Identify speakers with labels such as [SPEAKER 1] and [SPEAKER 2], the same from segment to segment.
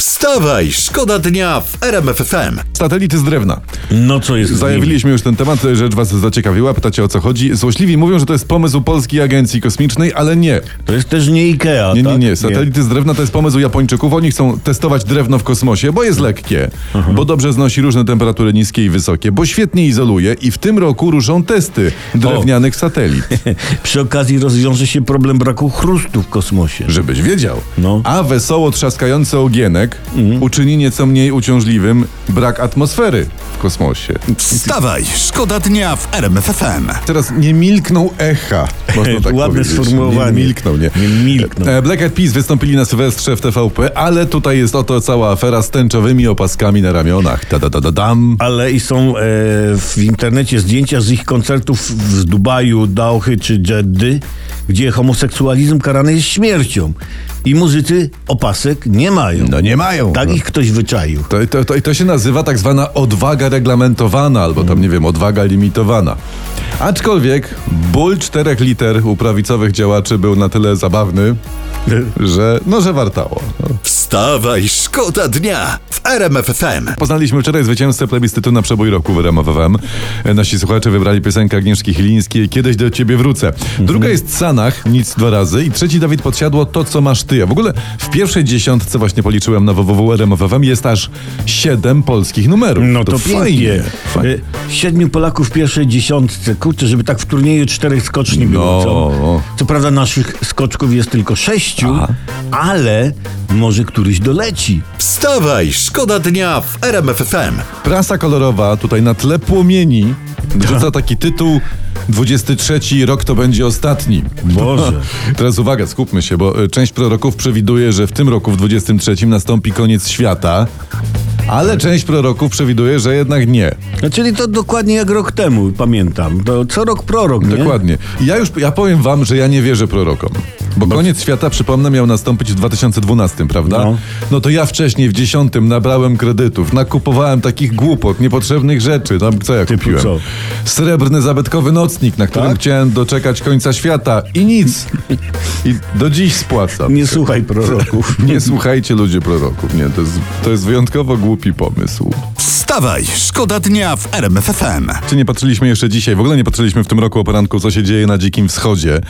[SPEAKER 1] Wstawaj, szkoda dnia w RMF FM.
[SPEAKER 2] Satelity z drewna.
[SPEAKER 3] No co jest z nimi?
[SPEAKER 2] Zajawiliśmy już ten temat, rzecz was zaciekawiła, pytacie o co chodzi. Złośliwi mówią, że to jest pomysł Polskiej Agencji Kosmicznej, ale nie.
[SPEAKER 3] To jest też nie Ikea,
[SPEAKER 2] Nie, nie,
[SPEAKER 3] tak?
[SPEAKER 2] nie. Satelity z drewna to jest pomysł Japończyków. Oni chcą testować drewno w kosmosie, bo jest lekkie,
[SPEAKER 3] Mhm.
[SPEAKER 2] bo dobrze znosi różne temperatury niskie i wysokie, bo świetnie izoluje i w tym roku ruszą testy drewnianych satelit.
[SPEAKER 3] Przy okazji rozwiąże się problem braku chrustu w kosmosie.
[SPEAKER 2] Żebyś wiedział.
[SPEAKER 3] No. Mhm.
[SPEAKER 2] A wesoło trzaskający ogienek uczyni nieco mniej uciążliwym brak atmosfery w kosmosie.
[SPEAKER 1] Wstawaj, szkoda dnia w RMF FM.
[SPEAKER 2] Teraz nie milkną echa. Można tak
[SPEAKER 3] Ładne
[SPEAKER 2] powiedzieć.
[SPEAKER 3] sformułowanie.
[SPEAKER 2] Nie milkną, nie.
[SPEAKER 3] Nie milkną.
[SPEAKER 2] E, Black Eyed Peas wystąpili na Sylwestrze w TVP, ale tutaj jest oto cała afera z tęczowymi opaskami na ramionach. Da, da, da, da, dam.
[SPEAKER 3] Ale i są e, w internecie zdjęcia z ich koncertów z Dubaju, Dauchy czy Jeddy, gdzie homoseksualizm karany jest śmiercią. I muzycy opasek nie mają.
[SPEAKER 2] No nie mają.
[SPEAKER 3] Tak ich ktoś wyczaił.
[SPEAKER 2] To, to, to, to się nazywa tak zwana odwaga reglamentowana, albo tam nie wiem, odwaga limitowana. Aczkolwiek ból czterech liter u prawicowych działaczy był na tyle zabawny, że no, że wartało.
[SPEAKER 1] Wstawaj, szkoda dnia w RMF FM.
[SPEAKER 2] Poznaliśmy wczoraj zwycięzcę plebiscytu na przebój roku w RMFWM. Nasi słuchacze wybrali piosenkę Agnieszki Chilińskiej Kiedyś do ciebie wrócę. Druga
[SPEAKER 3] Mhm.
[SPEAKER 2] jest Sanach, nic dwa razy. I trzeci Dawid Podsiadło, To co masz ty. A w ogóle w pierwszej dziesiątce właśnie policzyłem na www RMFWM jest aż siedem polskich numerów.
[SPEAKER 3] No to,
[SPEAKER 2] fajnie.
[SPEAKER 3] pięknie.
[SPEAKER 2] fajnie.
[SPEAKER 3] E, Siedmiu Polaków w pierwszej dziesiątce. Kurczę, żeby tak w turnieju czterech skoczni było. Co,
[SPEAKER 2] No.
[SPEAKER 3] co prawda naszych skoczków jest tylko sześciu, ale może któryś doleci.
[SPEAKER 1] Wstawaj, szkoda dnia w RMF FM.
[SPEAKER 2] Prasa kolorowa tutaj na tle płomieni rzuca taki tytuł 23 rok to będzie ostatni.
[SPEAKER 3] Boże.
[SPEAKER 2] Teraz uwaga, skupmy się, bo y, część proroków przewiduje, że w tym roku, w 23, nastąpi koniec świata, ale część proroków przewiduje, że jednak nie.
[SPEAKER 3] No, czyli to dokładnie jak rok temu, pamiętam. To co rok prorok, nie?
[SPEAKER 2] Dokładnie. I Ja już ja powiem wam, że ja nie wierzę prorokom. Bo koniec świata, przypomnę, miał nastąpić w 2012, prawda?
[SPEAKER 3] No.
[SPEAKER 2] No. to ja wcześniej w 10 nabrałem kredytów, nakupowałem takich głupot, niepotrzebnych rzeczy. Tam co ja
[SPEAKER 3] Typu
[SPEAKER 2] kupiłem?
[SPEAKER 3] co?
[SPEAKER 2] Srebrny zabytkowy nocnik, na którym
[SPEAKER 3] Tak?
[SPEAKER 2] chciałem doczekać końca świata i nic. I do dziś spłacam.
[SPEAKER 3] Nie słuchaj proroków.
[SPEAKER 2] Nie słuchajcie ludzie proroków, nie, to jest, to jest wyjątkowo głupi pomysł.
[SPEAKER 1] Wstawaj, szkoda dnia w RMF FM.
[SPEAKER 2] Czy nie patrzyliśmy jeszcze dzisiaj, w ogóle nie patrzyliśmy w tym roku o poranku, co się dzieje na Dzikim Wschodzie.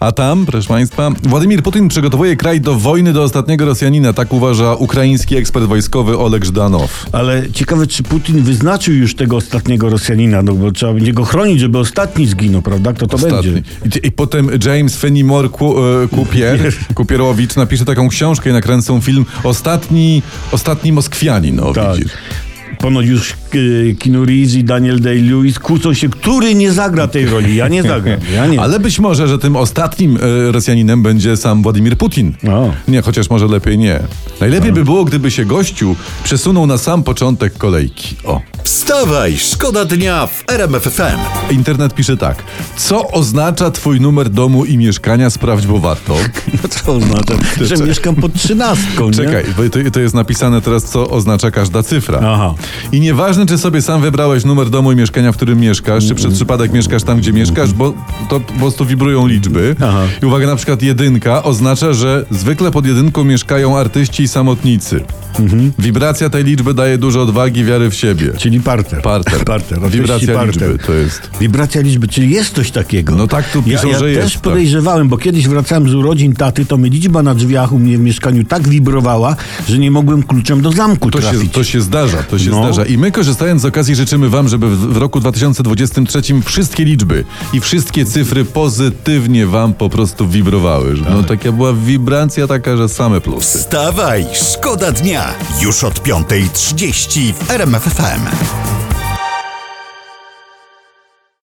[SPEAKER 2] A tam, proszę Państwa, Władimir Putin przygotowuje kraj do wojny do ostatniego Rosjanina, tak uważa ukraiński ekspert wojskowy Oleg Żdanow.
[SPEAKER 3] Ale ciekawe, czy Putin wyznaczył już tego ostatniego Rosjanina, no bo trzeba będzie go chronić, żeby ostatni zginął, prawda? Kto to będzie?
[SPEAKER 2] I, I potem James Fenimore Ku, e, Kupier, Kupierowicz napisze taką książkę i nakręcą film Ostatni, ostatni Moskwianin, o
[SPEAKER 3] Tak.
[SPEAKER 2] widzisz.
[SPEAKER 3] Ponoć już e, Keanu Reeves i Daniel Day-Lewis kłócą się, który nie zagra tej roli. Ja nie zagram. Ja nie.
[SPEAKER 2] Ale być może, że tym ostatnim e, Rosjaninem będzie sam Władimir Putin.
[SPEAKER 3] O.
[SPEAKER 2] Nie, chociaż może lepiej nie. Najlepiej by było, gdyby się gościu przesunął na sam początek kolejki. O.
[SPEAKER 1] Wstawaj, szkoda dnia w RMF FM.
[SPEAKER 2] Internet pisze tak. Co oznacza twój numer domu i mieszkania? Sprawdź, bo warto.
[SPEAKER 3] No co oznacza? Że mieszkam pod trzynastką, nie?
[SPEAKER 2] Czekaj, bo to, to jest napisane teraz, co oznacza każda cyfra.
[SPEAKER 3] Aha.
[SPEAKER 2] I nieważne, czy sobie sam wybrałeś numer domu i mieszkania, w którym mieszkasz, czy przez przypadek mieszkasz tam, gdzie mieszkasz, bo to po prostu wibrują liczby.
[SPEAKER 3] Aha.
[SPEAKER 2] I uwaga, na przykład jedynka oznacza, że zwykle pod jedynką mieszkają artyści i samotnicy.
[SPEAKER 3] Mhm.
[SPEAKER 2] Wibracja tej liczby daje dużo odwagi i wiary w siebie.
[SPEAKER 3] Czyli parter.
[SPEAKER 2] Parter.
[SPEAKER 3] Parter. oczywiście
[SPEAKER 2] Wibracja
[SPEAKER 3] parter.
[SPEAKER 2] liczby to jest.
[SPEAKER 3] Wibracja liczby, czyli jest coś takiego.
[SPEAKER 2] No tak tu piszą,
[SPEAKER 3] ja, ja
[SPEAKER 2] że
[SPEAKER 3] też
[SPEAKER 2] jest, tak.
[SPEAKER 3] podejrzewałem, bo kiedyś wracałem z urodzin taty, to mi liczba na drzwiach u mnie w mieszkaniu tak wibrowała, że nie mogłem kluczem do zamku
[SPEAKER 2] To
[SPEAKER 3] trafić.
[SPEAKER 2] się, to się zdarza, to się
[SPEAKER 3] No.
[SPEAKER 2] zdarza. I my korzystając z okazji życzymy Wam, żeby w w roku 2023 wszystkie liczby i wszystkie cyfry pozytywnie Wam po prostu wibrowały. że
[SPEAKER 3] Tak.
[SPEAKER 2] No taka była wibracja taka, że same plusy.
[SPEAKER 1] Wstawaj, szkoda dnia. Już od 5.30 w RMF FM.